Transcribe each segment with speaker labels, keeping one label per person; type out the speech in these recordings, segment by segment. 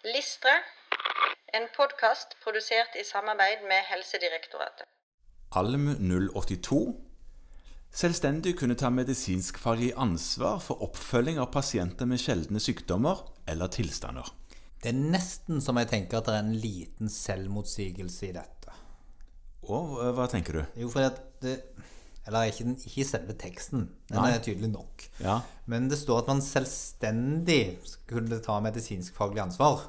Speaker 1: Listre, en podkast produsert i samarbeid med Helsedirektoratet.
Speaker 2: Alm 082. Selvstendig kunne ta medisinskfaglig ansvar for oppfølging av pasienter med sjeldne sykdommer eller tilstander.
Speaker 3: Det er nesten som jeg tenker at det er en liten selvmotsigelse i dette.
Speaker 2: Og eh, hva tenker du?
Speaker 3: Jo, fordi at det Eller ikke, den- ikke selve teksten. Den
Speaker 2: Nei.
Speaker 3: er tydelig nok.
Speaker 2: Ja.
Speaker 3: Men det står at man selvstendig skulle ta medisinskfaglig ansvar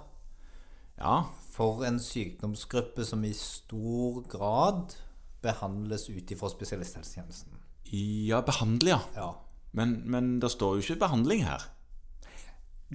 Speaker 2: Ja,
Speaker 3: for en sykdomsgruppe som i stor grad behandles ut ifra spesialisthelsetjenesten.
Speaker 2: ja behandle, ja.
Speaker 3: Ja.
Speaker 2: Men, men det står jo ikke behandling her.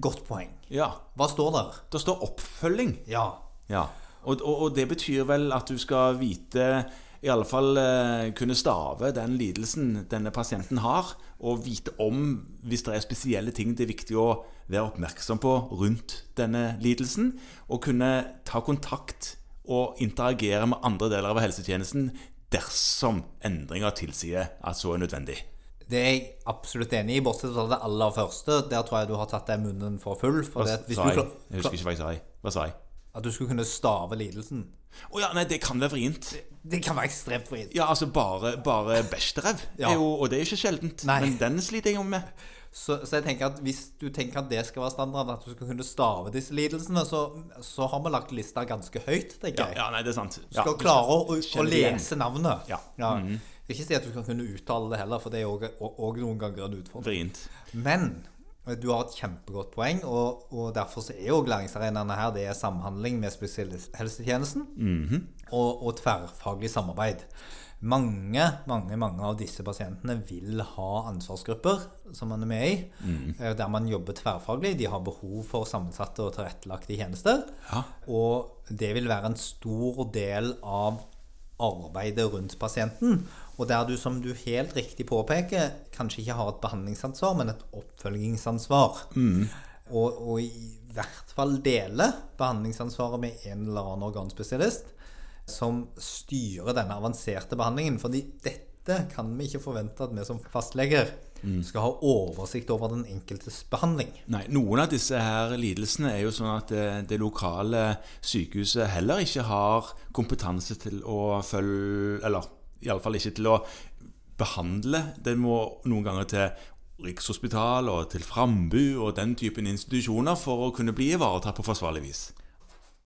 Speaker 3: Godt poeng.
Speaker 2: Ja,
Speaker 3: Hva står der?
Speaker 2: det står oppfølging.
Speaker 3: Ja.
Speaker 2: Ja, og, og, og det betyr vel at du skal vite i alle fall eh, kunne stave den lidelsen denne pasienten har, og vite om hvis det er spesielle ting det er viktig å være oppmerksom på rundt denne lidelsen, og kunne ta kontakt og interagere med andre deler av helsetjenesten dersom endringer tilsier at så er nødvendig.
Speaker 3: Det er jeg absolutt enig i, bortsett fra det aller første. Der tror jeg du har tatt deg munnen for full. For det at hvis
Speaker 2: Sa
Speaker 3: du,
Speaker 2: jeg?
Speaker 3: kla-
Speaker 2: Jeg husker ikke hva jeg sa. jeg. Hva sa jeg?
Speaker 3: at du skulle kunne stave lidelsen.
Speaker 2: Å ja, nei, det kan være vrient.
Speaker 3: Det kan være ekstremt vrient.
Speaker 2: Ja, altså bare, bare besterev.
Speaker 3: Ja.
Speaker 2: er jo- Og det er ikke sjeldent.
Speaker 3: Nei.
Speaker 2: Men den sliter jeg jo med.
Speaker 3: Så, så jeg tenker at hvis du tenker at det skal være standarden, at du skal kunne stave disse lidelsene, så, så har vi lagt lista ganske høyt, tenker jeg.
Speaker 2: Ja, nei, det er sant.
Speaker 3: Du
Speaker 2: Ja.
Speaker 3: skal klare å, å, å
Speaker 2: Kjenner det igjen.
Speaker 3: lese navnet.
Speaker 2: Ja. Mhm.
Speaker 3: Jeg vil Ikke si at du skal kunne uttale det heller, for det er òg noen ganger en utfordring.
Speaker 2: Vrient.
Speaker 3: Men du har et kjempegodt poeng, og, og derfor så er jo læringsarenaene her det er samhandling med spesialisthelsetjenesten og, og tverrfaglig samarbeid. Mange mange, mange av disse pasientene vil ha ansvarsgrupper som man er med i, eh, der man jobber tverrfaglig. De har behov for sammensatte og tilrettelagte tjenester.
Speaker 2: Ja.
Speaker 3: Og det vil være en stor del av arbeidet rundt pasienten, og der du, som du helt riktig påpeker, kanskje ikke har et behandlingsansvar, men et oppfølgingsansvar. Og, og i hvert fall dele behandlingsansvaret med en eller annen organspesialist som styrer denne avanserte behandlingen. fordi dette kan vi ikke forvente at vi som fastleger skal ha oversikt over den enkeltes behandling.
Speaker 2: Nei, Noen av disse her lidelsene er jo sånn at det, det lokale sykehuset heller ikke har kompetanse til å følge Eller iallfall ikke til å behandle. Det må noen ganger til Rikshospitalet og til Frambu og den typen institusjoner for å kunne bli ivaretatt på forsvarlig vis.